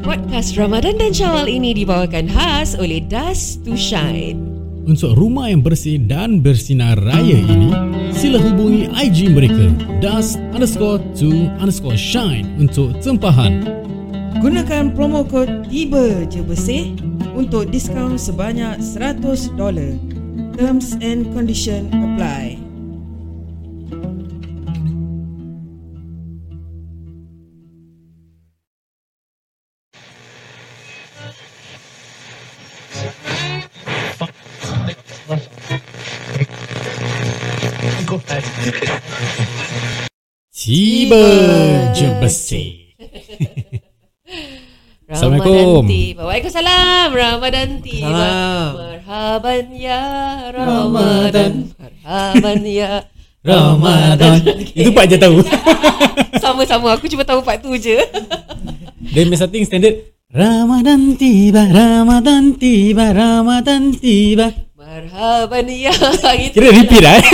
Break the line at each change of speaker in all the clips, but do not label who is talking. Podcast Ramadan dan Syawal ini dibawakan khas oleh Dust to Shine.
Untuk rumah yang bersih dan bersinar raya ini, sila hubungi IG mereka dust underscore to underscore shine untuk tempahan.
Gunakan promo kod tiba je bersih untuk diskaun sebanyak $100. Terms and condition apply.
Tiba je bersih. Assalamualaikum.
Ramadan tiba. Waalaikumsalam. Ramadan tiba.
Salam.
Marhaban ya Ramadan. Marhaban ya
Ramadan. Itu Pak je tahu.
Sama-sama aku cuma tahu part tu je.
Dia punya starting standard Ramadan tiba, Ramadan tiba, Ramadan tiba.
Marhaban ya. Itu
Kira repeat lah eh.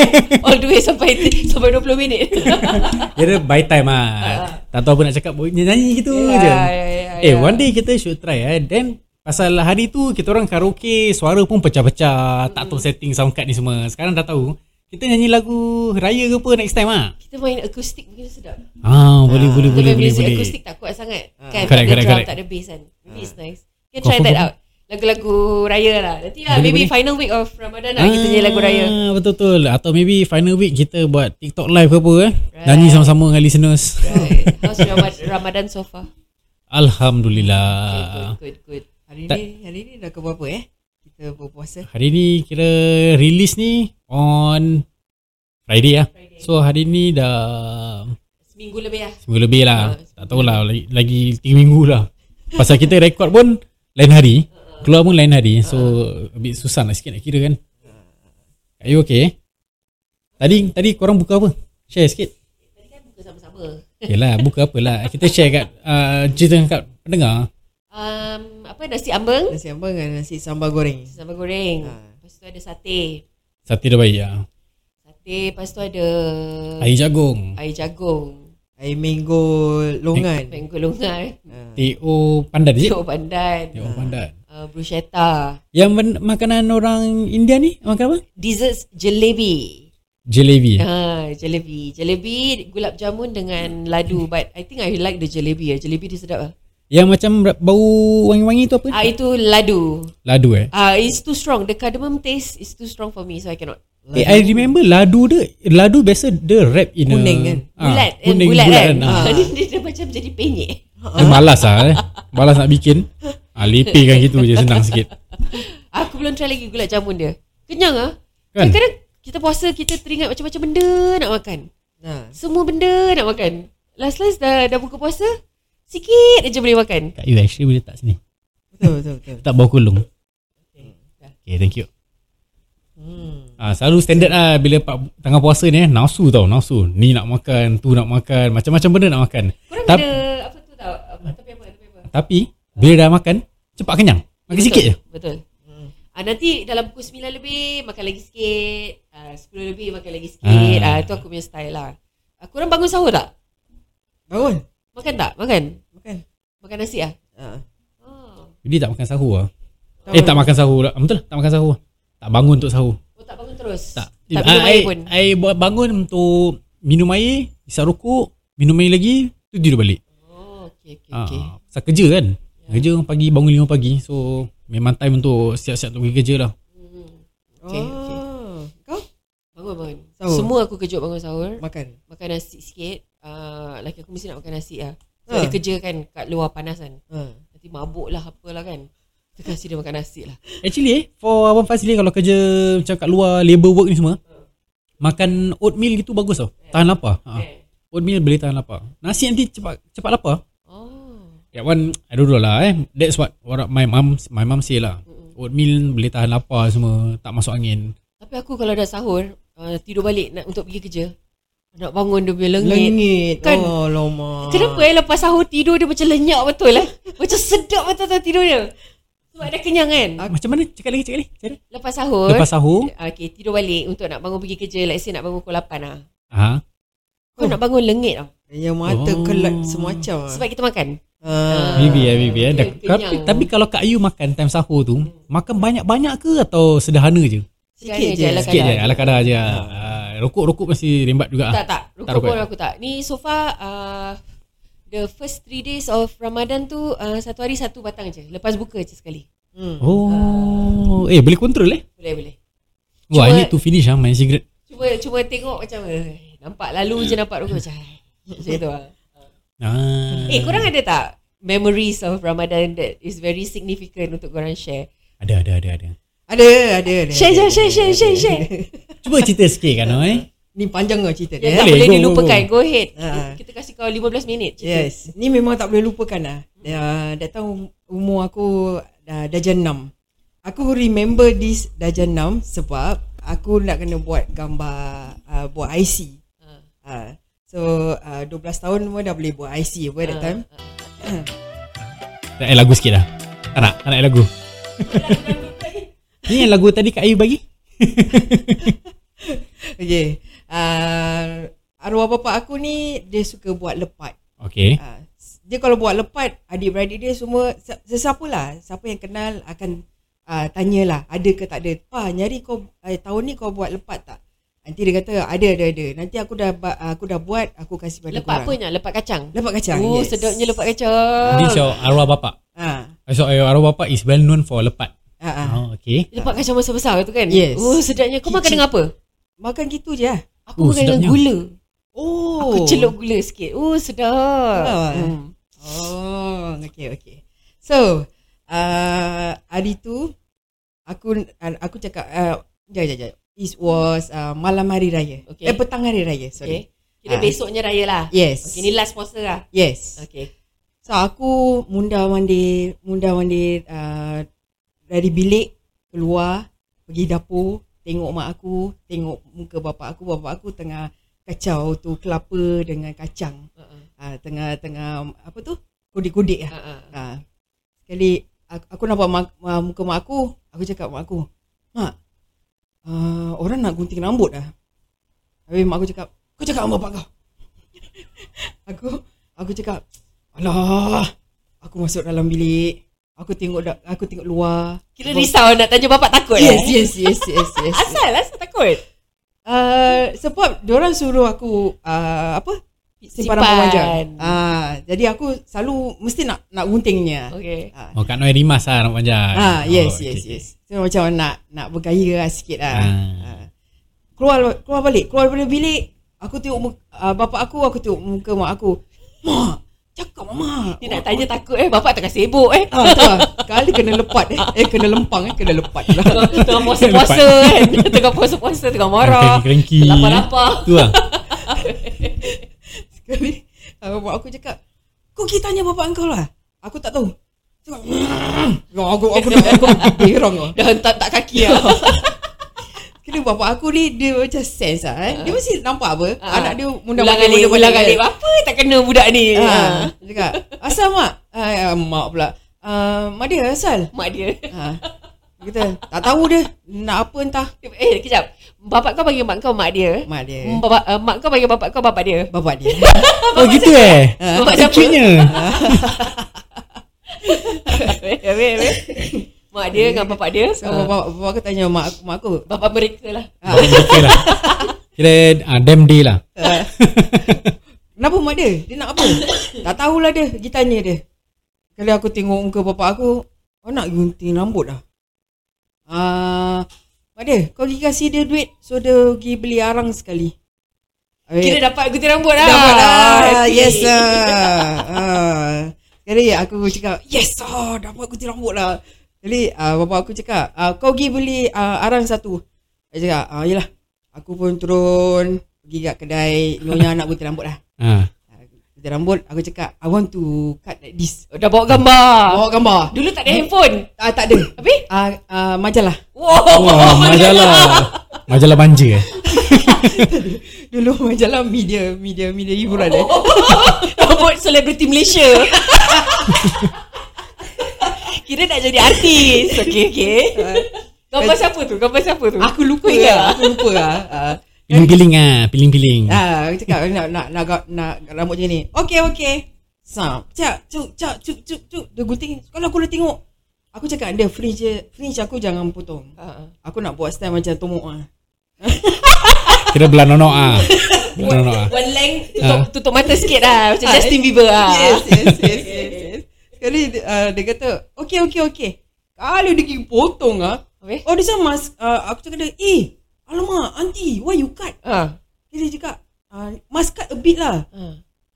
all the way sampai sampai 20 minit.
Kira by time lah. Tak tahu apa nak cakap, boleh nyanyi gitu
Ah, Ya,
je.
ya, ya,
eh,
ya.
one day kita should try eh. Then pasal hari tu kita orang karaoke, suara pun pecah-pecah,
Hmm.
tak tahu setting sound card ni semua. Sekarang dah tahu. Kita nyanyi lagu raya ke apa next time ah.
Kita main akustik mungkin sedap.
Ah, boleh boleh
Boleh, boleh,
boleh boleh
music
boleh.
akustik tak kuat sangat
Ah.
kan
Correct,
tak ada
correct,
drum
correct.
tak ada bass kan maybe it's nice can try
Confirm,
that out
confirm.
lagu-lagu raya lah nanti lah
Boleh,
maybe
boleh.
final week of Ramadan lah kita nyanyi lagu raya
Ah, Betul betul. Atau maybe final week kita buat TikTok live ke apa eh.
Right.
Nyanyi sama-sama dengan listeners.
right how's Ramad- Ramadan so far okay, good
Alhamdulillah.
good good
Hari
Ah. Tak.
ni, hari ni dah ke berapa eh? Kita berpuasa.
Hari ni kira release ni on Friday lah.
Friday.
So hari ni dah
seminggu lebih lah
Seminggu lebih
Ah,
lah Tak tahulah lagi, lagi 3 minggu lah Pasal kita rekod pun Lain hari Keluar pun lain hari So A bit susah lah sikit nak kira kan Are you okay? Tadi tadi korang buka apa? Share sikit
tadi kan buka sama-sama
Yelah buka apa lah Kita share kat uh, Cerita kat pendengar
um, apa nasi ambeng
Nasi ambeng dengan nasi sambal goreng.
sambal goreng
Ah.
lepas tu ada sate
Sate dah baik lah
sate lepas tu ada
Air jagung
air jagung
Air mango longan.
mango longan
Ah.
Teo pandan je
Tio pandan
Teo pandan
uh, bruschetta
Yang men- makanan orang India ni Makan apa?
desserts jelebi
Jalebi
Ha, jalebi. Jalebi gulab jamun dengan ladu but I think I like the jalebi ah. Jalebi dia sedap ah.
Yang macam ra- bau wangi-wangi tu
Ah
apa?
itu ladu.
Ladu eh
Ah it's too strong. The cardamom taste is too strong for me so I cannot.
Eh, I remember ladu dia Ladu biasa dia wrap in
Kuning
a,
kan?
Ah,
Bulat, eh,
kuning,
bulat, kan.
ah.
Ah. Dia, dia, dia macam jadi penyek.
Dia malas lah eh. Malas nak bikin ah, Lepihkan gitu je senang sikit
Aku belum try lagi gulab jamun dia. Kenyang ah.
Kan?
Kadang-kadang kita puasa kita teringat macam-macam benda nak makan.
Nah,
Semua benda nak makan. Last-last dah dah buka puasa sikit aja boleh makan.
Kat you actually boleh tak sini
betul betul betul.
Tak bawa kolong Okay thank you
Hmm.
ah, Selalu standard lah Bila pak, tengah puasa ni eh, Nafsu tau nafsu Ni nak makan Tu nak makan Macam-macam benda nak makan
Korang
Tap-
ada apa tu tau? Apa tapi apa tapi apa?
Tapi Bila dah makan Cepat kenyang Makan
Betul,
sikit je
Betul. Ah, nanti dalam pukul 9 lebih makan lagi sikit, ah, 10 lebih makan lagi sikit. Ah.
Ah.
itu aku punya style lah. Ah, korang bangun sahur tak?
Bangun.
Makan tak? Makan.
Makan.
Makan nasi ah.
Ah.
Oh.
Jadi tak makan sahur lah Eh tak makan sahur lah Ah, Betul lah, tak makan sahur Tak bangun untuk sahur
Oh, tak bangun terus.
Tak.
Tak minum
Ah,
air
I-
pun.
I buat bangun untuk minum air, isap rokok, minum air lagi, tu tidur balik.
Oh, okey okey
Ah,
okey. Ya.
Pasal kerja kan. Kerja orang pagi bangun 5 pagi. So memang time untuk siap-siap untuk pergi kerja lah.
Hmm.
Okay,
Okay,
okay.
okay.
Oh, Kau
Bangun bangun.
Sahur.
Semua aku kejut bangun sahur.
makan.
Makan nasi sikit. Ah, laki aku mesti nak makan nasi ah. So, Dia
Ah.
kerja kan kat luar panas kan.
Ah.
Nanti mabuk lah apalah kan. Kita kasih dia makan nasi lah.
Actually eh, for Abang Fazli kalau kerja macam kat luar labor work ni semua, makan oatmeal gitu bagus tau. Tahan lapar. Ha.
Eh.
Oatmeal boleh tahan lapar. Nasi nanti cepat cepat lapar.
Oh.
That one, I don't know lah eh. That's what, what my mum my mum say lah. Oatmeal boleh tahan lapar semua. Tak masuk angin.
Tapi aku kalau dah sahur uh, Tidur balik nak, untuk pergi kerja Nak bangun dia punya lengit,
Lengit.
Kan?
Oh, lama.
Kenapa eh lepas sahur tidur dia macam lenyak betul lah Macam sedap betul tau tidur dia Sebab dah kenyang kan
Macam mana? Cakap lagi, cakap lagi. Cara?
Lepas sahur
Lepas sahur.
Okay tidur balik untuk nak bangun pergi kerja Let's say nak bangun pukul 8 lah
Ha.
Kau
Oh.
nak bangun lengit tau
Yang Ya, mata
Oh.
oh. kelak semacam. ah.
Sebab kita makan
Ah,
Maybe eh, maybe eh.
Ke-
Dah- Tapi,
kenyang. Mm.
tapi kalau Kak Ayu makan time sahur tu, makan banyak-banyak ke atau sederhana je?
sikit je.
Ya, Ala
Sikit je,
kadar.
ala kadar je. Ah, Rokok-rokok masih rembat juga.
Tak
ah.
tak
Tak
Rukuk
rukuk.
pun aku tak Ni so far uh, The first three days of Ramadan tu uh, Satu hari satu batang je Lepas buka je sekali
Hmm.
Ah.
Oh, eh boleh kontrol eh?
Boleh boleh
Wah,
Cuma-
ini tu finish ah main cigarette.
Cuma cuma tengok macam eh, Nampak lalu je nampak rukuk macam eh, Macam tu lah
Ah.
Eh korang ada tak Memories of Ramadan That is very significant Untuk korang share
ada ada ada ada.
Ada, ada, ada.
Share
ada,
share
ada,
share share
ada,
share,
ada.
share.
Cuba cerita sikit kan eh.
Ni panjang lah
Yang
cerita ni.
tak
Boleh,
boleh
go, go,
dilupakan Go ahead
Ah.
Kita kasih kau 15 minit cerita.
Yes, ni memang tak boleh lupakan lah. Uh, dah tahu umur aku dah darjah 6. Aku remember this darjah 6 sebab aku nak kena buat gambar, uh, buat IC.
Ah.
Uh, so uh, 12 tahun pun dah boleh buat IC apa that
Ah,
time.
ah.
Nak add lagu sikit dah. Tak nak, tak nak add lagu. Ni yang lagu tadi Kak Ayu bagi?
Okay. Uh, arwah bapa aku ni dia suka buat lepat.
Okay.
Ah, dia kalau buat lepat adik-beradik dia semua se- sesiapa lah siapa yang kenal akan uh, tanyalah ada ke tak ada pa nyari kau eh, tahun ni kau buat lepat tak nanti dia kata ada ada ada nanti aku dah ba- aku dah buat aku kasih pada
Lepak apa
korang
nak? Lepak kacang
lepat kacang
Oh
yes.
sedapnya lepak kacang
Ni show arwah bapak.
ha
So eh, arwah bapak is well known for lepat.
ha, ha.
Oh, okay.
Lepak kacang besar-besar tu kan
Yes.
Oh sedapnya Kau makan
Kicik.
dengan apa?
makan gitu je lah.
Aku oh,
Oh,
makan dengan
sedapnya.
gula
oh
Aku celup gula sikit Oh sedap
Ah.
hmm.
Oh, okay, okay. So, uh, hari tu aku aku cakap uh, jap jap jap. It was uh, malam hari raya.
Okay.
Eh petang hari raya,
Okay
sorry.
Kira
Ah.
besoknya raya lah
Yes.
Okay ni last puasa lah
Yes.
Okay
So aku munda mandi, munda mandi uh, dari bilik keluar pergi dapur, tengok mak aku, tengok muka bapa aku, bapa aku tengah kacau tu kelapa dengan kacang.
uh-uh.
Uh, tengah tengah apa tu? Kudik-kudik lah.
Uh-uh.
Ha. Sekali aku, aku nampak mak, ma- muka mak aku, aku cakap mak aku, "Mak, uh, orang nak gunting rambut dah." Habis mak aku cakap, "Kau cakap dengan bapak kau." aku aku cakap, "Alah, aku masuk dalam bilik. Aku tengok da- aku tengok luar."
Kira risau nak tanya bapak takut
Yes,
eh?
yes, yes, yes, yes.
Asal asal takut
Uh, sebab diorang suruh aku uh, apa?
Simpan.
Simpan, rambut panjang. Ah, jadi aku selalu mesti nak nak guntingnya.
Okay
Ah,
Oh, Kak Noi rimas lah rambut panjang.
Ah,
oh,
yes, yes,
okay.
yes. So macam nak nak bergaya lah sikit lah.
Ah.
Ah. Keluar keluar balik, keluar daripada bilik. Aku tengok muka, uh, bapak aku, aku tengok muka mak aku. Mak, cakap mak.
Dia nak tanya takut eh Bapak tengah sibuk eh
Ah, tak. Kali kena lepat eh. Eh, kena lempang eh. Kena lepat lah.
Tengah- Tengah puasa-puasa kan Tengah puasa-puasa Tengah marah
Kerengki-kerengki.
Lapar-lapar
Tu lah.
Sekali uh, Bapak aku cakap Kau pergi tanya bapak kau lah Aku tak tahu Cakap "Mm." Ya, Aku aku nak aku berang lah
Dah hentak-hentak kaki lah
Kena bapak aku ni Dia macam sense lah eh. Dia mesti nampak apa
Ah.
Anak dia
Ulang
mundang-mandir,
alik Ulang
mundang-mandir.
alik Apa tak kena budak ni
Ah,
ha.
dia cakap, asal mak? Ah, ah, mak pula. Ah, mak dia asal?
Mak dia
Ha. Kita tak tahu dia nak apa entah.
Eh kejap Bapak kau panggil mak kau mak dia
Mak dia.
Mm, Bapak, uh, mak kau panggil bapak kau bapak dia
Bapak dia.
Oh, gitu eh?
Ah.
Bapak
Siapa?
cutnya.
Habis, Eh, habis, habis. Mak dia dengan bapak dia
So,
ah,
bapak, bapak aku tanya mak aku, mak aku.
Bapak mereka lah
Bapak mereka lah. Kira ah, damn day lah.
ah, Kenapa mak dia? Dia nak apa? tak tahulah dia. Pergi tanya dia. Kali aku tengok muka bapak aku, kau nak gunting rambut dah. Ah, mak dia, kau pergi kasih dia duit so dia pergi beli arang sekali. Eh,
Kira dapat gunting rambut lah
Dapat lah
Happy.
Yes lah Ah. Jadi aku cakap Yes ah, Dapat gunting rambut lah Jadi uh, bapa aku cakap uh, Kau pergi beli uh, arang satu Dia cakap ah, Yelah Aku pun turun Pergi kat kedai Nyonya nak gunting rambut lah
Ah.
Ah, Gunting rambut Aku cakap I want to cut like this
Oh, Dah bawa gambar
Bawa gambar
Dulu tak ada handphone
ah, Tak ada
Habis
ah, ah, Majalah
Wow,
Wah, majalah. Majalah banja eh.
Dulu majalah media Media media hiburan eh.
Rambut selebriti Malaysia Kira nak jadi artis Okay okay
Ah,
Gambar siapa tu? Gambar siapa tu?
Aku
Kau
lupa
ingat
lah
tak?
Aku lupa lah Ah.
Piling-piling ah, piling-piling.
Ha, Ah, aku cakap nak nak nak nak, nak rambut macam ni. Okey okey. Sam, cak, cuk, cak, cuk, cuk, cuk. Dia gunting. Kalau aku dah tengok, aku cakap dia fringe dia- fringe aku jangan potong.
Ha.
Aku nak buat style macam tomok ah.
Kira belah nonok ah. Belah nonok ah.
One length tutup, tutup mata sikit lah Macam Justin Bieber lah
Ah. Yes, yes, yes, yes, yes. Sekali uh, dia kata, okay, okay, okay. Kalau dia pergi potong ah,
Habis?
oh dia sama, uh, aku cakap dia, eh, alamak, auntie, why you cut?
Ha.
Dia dia cakap, uh, must cut a bit lah.
Ha.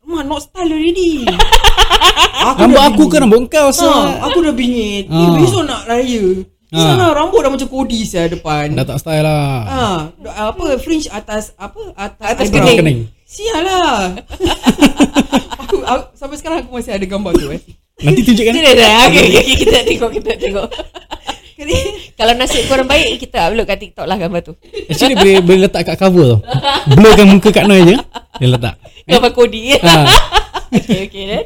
Ma, not style already. aku
Rambut
dah
aku kan ke
bingit.
rambut kau so.
Ha, aku dah bingit. Ni
Ah.
besok nak raya. Di
Ah.
sana rambut dah macam kodi saya
Dah
depan.
tak style lah.
Ha, do- apa fringe atas apa atas,
Atas
eyebrow.
kening.
Kening.
Sial lah. aku, aku sampai sekarang aku masih ada gambar tu eh.
Nanti kan? tunjukkan.
Kita dah ah. dah okay, okay, okay, Kita nak tengok Kita nak tengok
Kali
Kalau nasib korang baik Kita upload kat TikTok lah gambar tu
Actually boleh, boleh letak kat cover tau. Blurkan muka kat Noi je. Dia letak.
Gambar kodi
Ha.
Okay okay then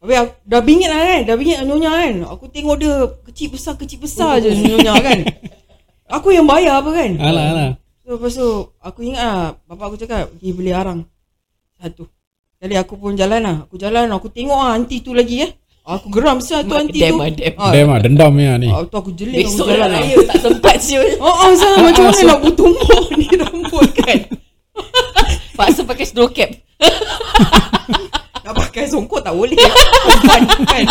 Habis aku, dah bingit lah kan Dah bingit nyonya kan Aku tengok dia Kecil besar Kecil besar je nyonya kan Aku yang bayar apa kan
Oh. Ah, Alah alah.
So lepas tu Aku ingat lah Bapak aku cakap Pergi beli arang Satu Kali aku pun jalan lah Aku jalan Aku tengok lah Aunty tu lagi eh Aku geram Sial tu aunty tu
Madam, madam.
Ah,
Dem ah dendam ya ni.
ah, Tu aku jeling Aku
Besok
jalan
lah
lah
raya Tak sempat siul
Oh, oh Zah macam mana nak bertumbuk ni rambut kan
Paksa pakai snow cap
Nak pakai songkok tak boleh Perempuan kan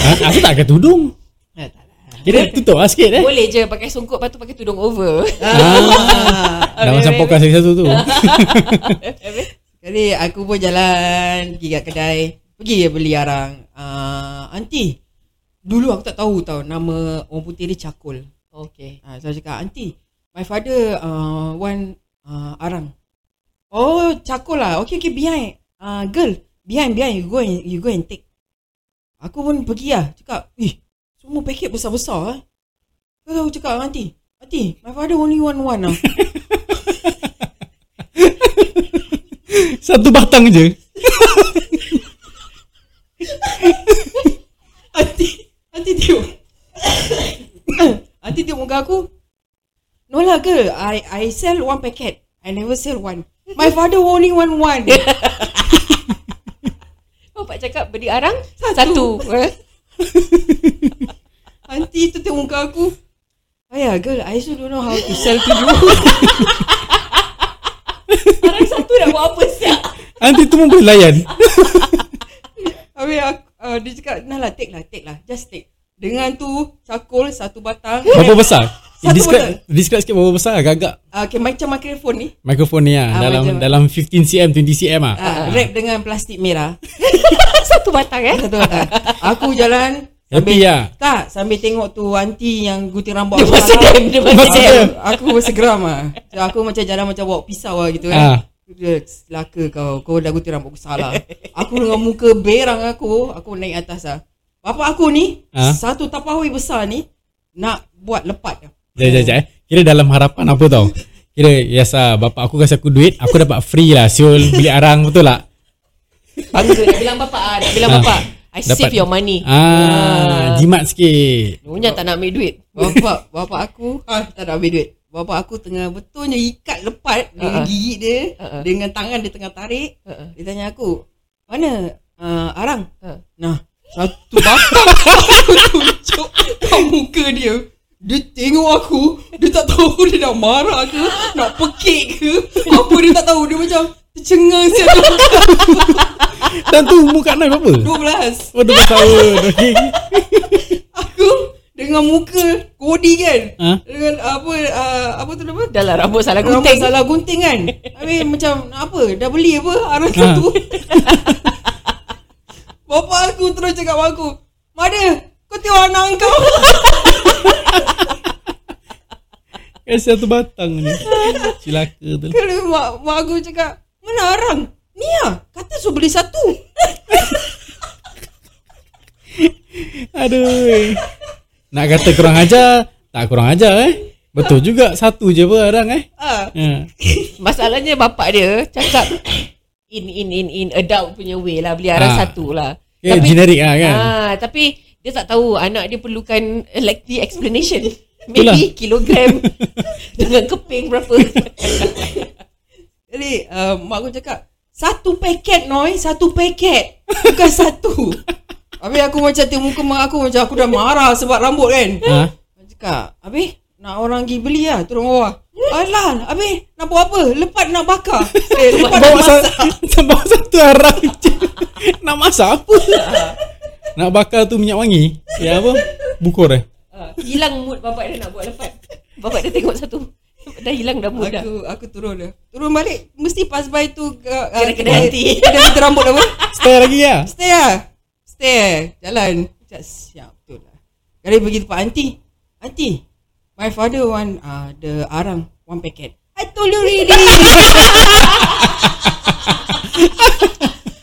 Ha, aku tak pakai tudung.
Eh, tak lah.
Kira tutup lah sikit eh.
Boleh je pakai songkok Lepas tu pakai tudung over
Ah.
Dah macam podcast yang satu tu.
Jadi aku pun jalan pergi kat kedai. Pergi beli arang. Uh, aunty, dulu aku tak tahu tau nama orang putih dia cakul.
Okay
Uh, so aku cakap, aunty, my father uh, want uh, arang. Oh, cakul lah. Okay, okay, behind. Uh, girl, behind, behind. You go and, you go and take. Aku pun pergi lah. Cakap, eh, semua paket besar-besar eh. Kau aku cakap, aunty, aunty, my father only want one lah.
Satu batang je.
Aunty Aunty tengok Aunty tengok muka aku No lah girl I I sell one packet I never sell one My father only want one
Bapak cakap beli arang
Satu.
Satu, Eh?
Aunty tu tengok muka aku Ayah girl I also don't know how to sell to you
Arang satu nak buat apa siap
Nanti tu pun boleh layan.
Habis aku, uh, dia cakap Nah lah take lah take lah Just take Dengan tu Cakul satu batang
Berapa besar?
Satu
Describe, describe sikit berapa besar agak-agak
uh, okay, Macam microphone ni
mikrofon ni ah,
Ah,
dalam
macam-
dalam 15 cm 20 cm ah.
uh, Wrap dengan plastik merah
Satu batang eh
Satu batang Aku jalan
Happy ah.
Tak Sambil tengok tu Aunty yang gunting rambut
Dia
aku
masuk
salah.
game Dia masuk
Masuk
game
game.
Aku bersegeram lah so, Aku macam jalan macam bawa pisau lah gitu
Ah.
kan Dia Selaka kau Kau dah gunting rambut aku salah Aku dengan muka berang aku Aku naik atas lah Bapak aku ni
Ah.
Satu tapahui besar ni Nak buat lepat
Jap jap jap. eh. Kira dalam harapan apa tau? Kira yes ah, bapak aku kasih aku duit, aku dapat free lah siul beli arang betul tak?
Bangga Nak bilang bapak ah, Nak bilang
Ah.
bapak I
Dapat.
save your money
Ah,
Ya.
jimat sikit.
Nyonya tak nak ambil duit
Bapak Bapak aku ah, Tak nak ambil duit Bapak aku tengah betulnya ikat lepat Dengan
Ah.
gigi dia
Ah, ah.
Dengan tangan dia tengah tarik
Ha-ha.
Dia tanya aku Mana uh, Arang
Ha.
Nah Satu batang Aku tunjuk Kat muka dia Dia tengok aku Dia tak tahu Dia nak marah ke Nak pekik ke Apa dia tak tahu Dia macam Tercengang siapa
Dan tu muka nak berapa?
12
Oh, 12 tahun. Okey.
Aku Dengan muka Kodi kan
Ha?
Dengan apa uh, Apa tu nama
Dah lah rambut salah
Rambut
gunting
salah gunting kan Habis macam nak apa Dah beli apa Arang
Ha.
tu Bapa aku terus cakap dengan aku Mada Kau tengok anak kau
Kasih satu batang ni. Cilaka tu.
Kalau mak, mak aku cakap Mana Arang Ni lah Kata suruh beli satu
Aduh. Nak kata kurang ajar, tak kurang ajar eh. Betul juga satu je apa arang eh.
ha.
Ha.
Masalahnya bapak dia Cakap In in in in Adult punya way lah Beli arang
Ah.
satu lah
Okay, generic lah kan.
Ah, tapi dia tak tahu anak dia perlukan uh, like the explanation. Maybe kilogram dengan keping berapa.
ah, Jadi uh, mak aku cakap Satu paket Noi Satu paket Bukan satu Habis aku macam tengok muka mak aku Macam aku dah marah sebab rambut kan
Ha?
Aku cakap Habis nak orang pergi beli lah Turun bawah Alah Habis nak buat apa Lepat nak bakar eh, Lepat nak
Bawa,
masak
sa- bawa satu arah je. Nak masak apa? Nak bakar tu minyak wangi? Ya apa? Bukur eh?
Ah, hilang mood bapak dia nak buat lepas. Bapak dia tengok satu. Dah hilang dah mood dah.
Aku aku turun dah Turun balik Mesti pas by tu
Kira
Kira
kedai hati.
Kedai hati rambut apa
Stay lagi ya?
Stay lah Stay Jalan Macam siap betul lah Kali pergi tempat aunty Aunty My father want uh, The arang One packet I told you already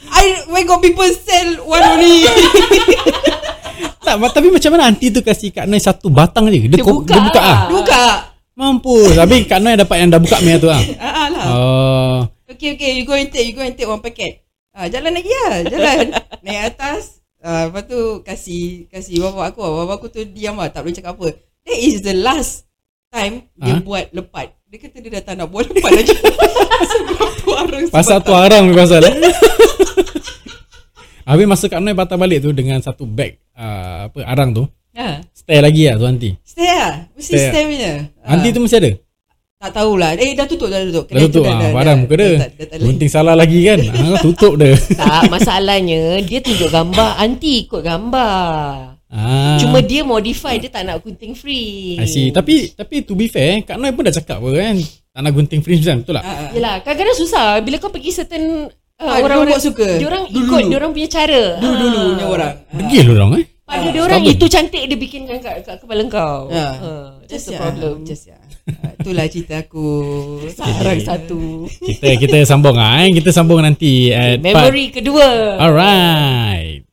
I Where got people sell One only
Tak, ma- tapi macam mana aunty tu kasih Kak Noi satu batang je?
Dia
Dia, ko-
buka
dia buka
lah.
ah.
Buka
Mampus. Habis Kak Noi dapat yang dah buka punya tu ah.
ah, ah lah
Oh.
Okay, okay, you go and take, you go and take one packet. Ah, jalan lagi lah, jalan. Naik atas, ah, lepas tu kasih kasih bapa aku. Bapa aku tu diam lah, tak boleh cakap apa. That is the last time dia
Ha?
buat lepat. Dia kata dia dah tak nak buat lepat lagi. sebab tu arang
Pasal tu haram ni pasal eh. Habis masa Kak Noi patah balik tu Dengan satu beg uh, apa Arang tu
Ha.
Stay lagi lah tu aunty
Stay lah, mesti
Stay.
stay, stay punya. Ah,
Aunty tu masih ada
tak tahulah. Eh, dah tutup, dah tutup.
Dah tutup
lah,
ah,
kan?
Haram muka dia
Dah, dah, dah, dah, dah,
Gunting salah lagi kan ha, Tutup dia
Tak, masalahnya dia tunjuk gambar, anti ikut gambar.
ah,
Cuma dia modify, dia tak nak gunting free.
I see Tapi Tapi to be fair eh, Kak Noi pun dah cakap apa kan Tak nak gunting fringe kan Betul tak
Ah, ah.
Yelah, kadang-kadang susah bila kau pergi certain uh, orang-orang
Ah, diorang buat suka.
Diorang
Dulu,
ikut
dulu.
diorang punya cara. Ah.
Dulu-dulu punya
Ah,
orang.
Degil lu orang eh
Ah,
Pada diorang
Stubborn.
itu cantik dia bikinkan kat, kat kepala kau.
Ha.
Oh,
Ah, that's the
Just ya,
problem.
Just ya. Ah, Itulah cerita aku.
Sarang satu.
Kita kita sambung ah eh. Kita sambung nanti at part-
Memory kedua.
Ah.
Alright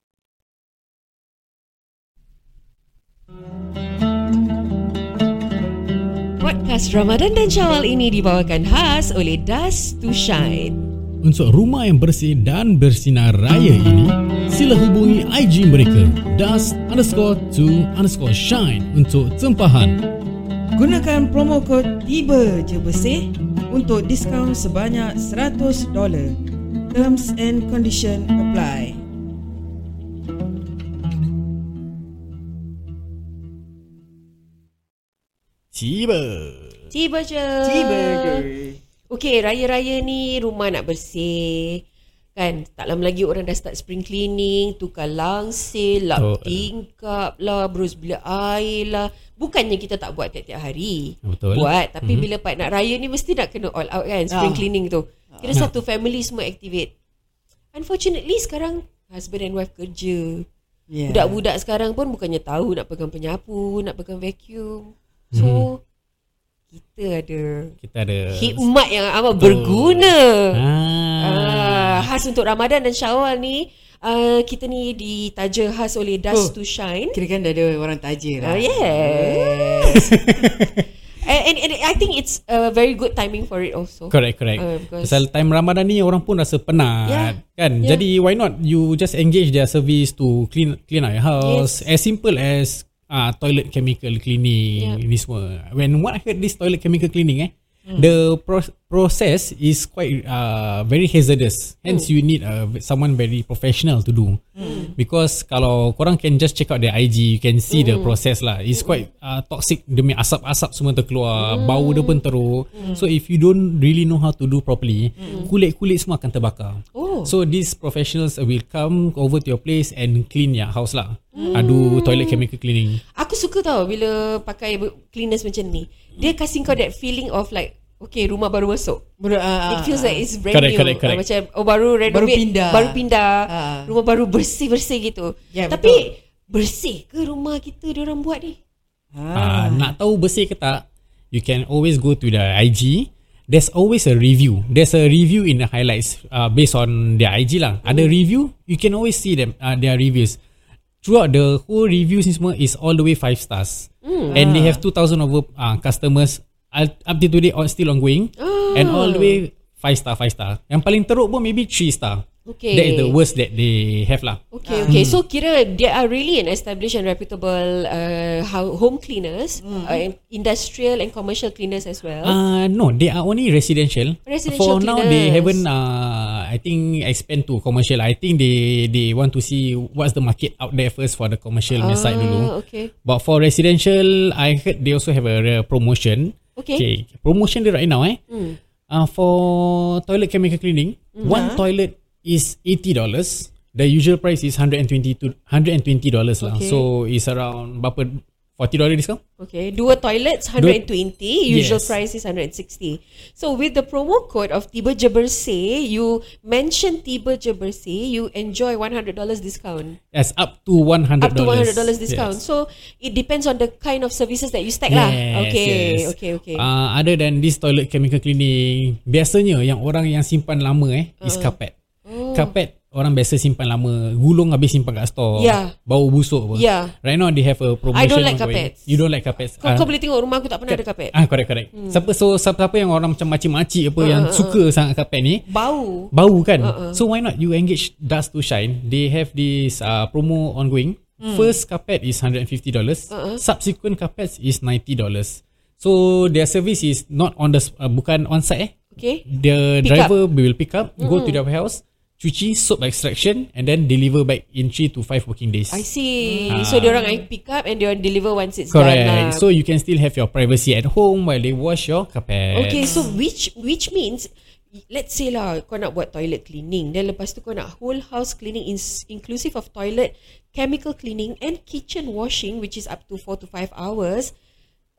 Podcast Ramadan dan Syawal ini dibawakan khas oleh Dust to Shine.
Untuk rumah yang bersih dan bersinar raya ini, sila hubungi IG mereka dust underscore to underscore shine untuk tempahan.
Gunakan promo kod tiba je bersih untuk diskaun sebanyak $100. Terms and condition apply.
Tiba.
Tiba je.
Tiba je.
Okey, raya-raya ni rumah nak bersih. Kan, tak lama lagi orang dah start spring cleaning, tukar langsir, lap
Oh.
oh. tingkap lah, berus bilik air lah. Bukannya kita tak buat tiap-tiap hari.
Betul.
Buat, tapi mm-hmm. bila part nak raya ni mesti nak kena all out kan, spring
Ah.
cleaning tu. Kira satu family semua activate. Unfortunately sekarang husband and wife kerja.
Yeah.
Budak-budak sekarang pun bukannya tahu nak pegang penyapu, nak pegang vacuum. So kita ada
Kita ada
hikmat yang amat berguna.
Ah.
Ah, khas untuk Ramadan dan Syawal ni uh, kita ni ditaja khas oleh
Oh.
Dust to Shine.
Kira kan dah ada orang tajir
Uh,
lah.
yes. and, and, and I think it's a very good timing for it also.
Correct, correct.
Ah, because-
Pasal time Ramadan ni orang pun rasa penat,
Yeah.
kan?
Yeah.
Jadi why not you just engage their service to clean clean out your house as simple as ah toilet chemical
Yeah.
cleaning
Hmm.
ni semua. When what I heard this toilet chemical cleaning eh The pro- process is quite uh, very hazardous.
Hmm.
Hence, you need uh, someone very professional to do. Because kalau korang can just check out their IG, you can see the process lah. It's quite uh, toxic. Demi asap-asap semua terkeluar. Bau dia pun teruk. So, if you don't really know how to do properly, kulit-kulit semua akan terbakar.
Oh.
So, these professionals will come over to your place and clean your house lah. Adu toilet chemical cleaning.
Aku suka tau bila pakai cleaners macam ni. Dia kasi kau that feeling of like okay rumah baru masuk.
Budak,
It feels like it's brand
Correct,
new.
correct, correct.
Ah, Macam oh baru renovate,
Ah, Baru pindah.
baru pindah,
Ah.
rumah baru bersih-bersih gitu.
Ya,
Tapi
betul.
bersih ke rumah kita diorang buat ni?
Ah, nak tahu bersih ke tak, you can always go to the IG. There's always a review. There's a review in the highlights uh, based on their IG lah. Ada review, you can always see them uh, their reviews. Throughout the whole reviews ni semua is all the way 5 stars. And they have 2,000 over uh, customers Al- up to today all still ongoing. And all the way 5 star, 5 star. Yang paling teruk pun maybe 3 star.
Okay.
That is the worst that they have lah.
Okay, okay. So kira they are really an established and reputable uh, hou- home cleaners, uh,
Hmm.
and industrial and commercial cleaners as well.
Uh, no, they are only residential.
Residential
For now, they
cleaners.
haven't. Uh, I think expand to commercial. I think they they want to see what's the market out there first for the commercial
Ah.
punya side dulu.
okay.
But for residential, I heard they also have a, uh, promotion.
Okay. Hmm.
Promotion dia right now eh. Mm. Uh, for toilet chemical cleaning, mm. one
Uh-huh.
toilet is eighty dollars. The usual price is 120 to 120 dollars lah.
Okay.
So it's around berapa 40 dollar discount?
Okay, dua toilets 120, usual
Yes.
price is 160. So with the promo code of Tiba Jebersih, you mention Tiba Jebersih, you enjoy $100 discount.
Yes, up to $100.
Up to $100 discount.
Yes.
So it depends on the kind of services that you stack lah.
Yes,
Okay,
yes.
okay, okay.
Uh, other than this toilet chemical cleaning, biasanya yang orang yang simpan lama eh uh. is carpet. Oh. Carpet orang biasa simpan lama, gulung habis simpan kat store.
Yeah.
Bau busuk apa.
Yeah.
Right now they have a
Ya.
promotion.
I don't like
ongoing.
carpets.
You don't like carpets.
kau, kau boleh tengok rumah aku tak pernah ada kapet.
Ah correct correct. Hmm. Siapa so siapa yang orang macam makcik-makcik apa uh, yang suka sangat carpet ni,
Bau.
bau kan uh-uh. so why not you engage dust to shine they have this uh, promo ongoing
Hmm.
mm. first carpet is 150 dollars uh-uh. subsequent carpets is 90 dollars so their service is not on the s- uh, bukan on site eh
Okay.
the
Pick
pick driver up. will pick up mm. go to their house cuci soap extraction and then deliver back in 3 to 5 working days
I see. So dia orang I pick up and dia orang deliver once it's
Ah. correct
done ah. lah.
so you can still have your privacy at home while they wash your carpet
Okay, so which which means let's say lah kau nak buat toilet cleaning then lepas tu kau nak whole house cleaning is inclusive of toilet, chemical cleaning and kitchen washing which is up to 4 to 5 hours.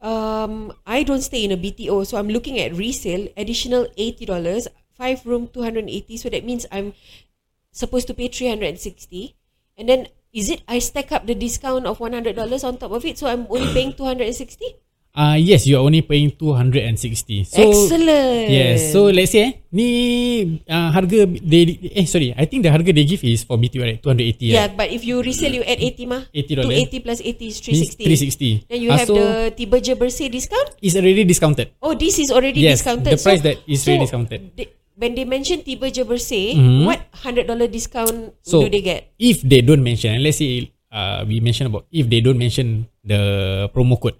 Um I don't stay in a BTO so I'm looking at resale additional $80, 5 room 280 so that means I'm supposed to pay 360 and then is it I stack up the discount of $100 on top of it so I'm only paying 260?
Uh, yes, you are only paying 260. So,
Excellent.
Yes. So let's say eh, ni uh, harga they eh sorry, I think the harga they give is for BTO right 280
Yeah,
right?
but if you resell, you add 80 mah.
$80.
280 plus 80 is
Means
360.
360.
Then you
Ah,
have
so-
the Tiba Je Bersih discount.
It's already discounted.
Oh, this is already
Yes,
discounted.
the price that is really discounted.
They, when they mention Tiba Je Bersih,
Mhm.
what $100 discount do
So
they get?
If they don't mention, and let's say uh, we mentioned about if they don't mention the promo code,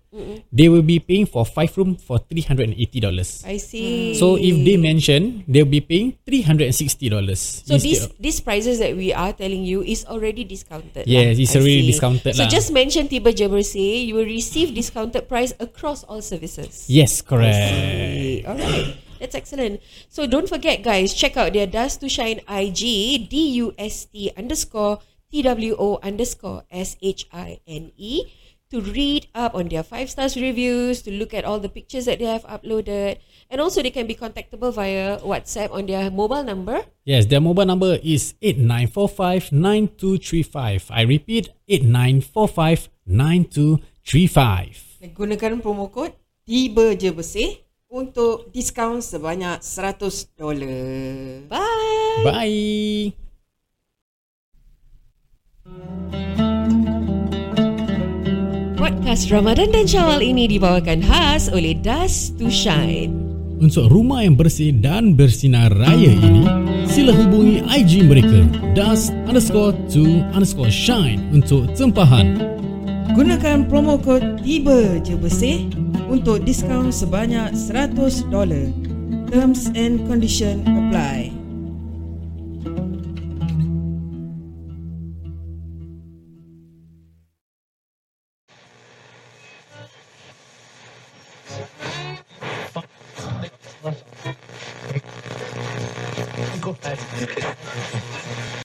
they will be paying for five room for $380.
I see.
So if they mention, they'll be paying $360.
So
instead
these
of-
these prices that we are telling you is already discounted.
Yes,
lah.
it's
I
already
see.
discounted
So
lah.
just mention Tiba Je Bersih, you will receive discounted price across all services.
Yes, correct.
Alright, That's excellent. So don't forget, guys, check out their Dust to Shine IG, D U S T underscore T W O underscore S H I N E, to read up on their five stars reviews, to look at all the pictures that they have uploaded. And also, they can be contactable via WhatsApp on their mobile number.
Yes, their mobile number is 8945-9235. I repeat, 8945-9235.
Gunakan promo code Tiba je bersih untuk diskaun sebanyak $100.
Bye!
Bye.
Podcast Ramadan dan Syawal ini dibawakan khas oleh Dust to Shine.
Untuk rumah yang bersih dan bersinar raya ini, sila hubungi IG mereka dust underscore to underscore shine untuk tempahan.
Gunakan promo kod Tiba Je Bersih untuk diskaun sebanyak $100. Terms and condition apply.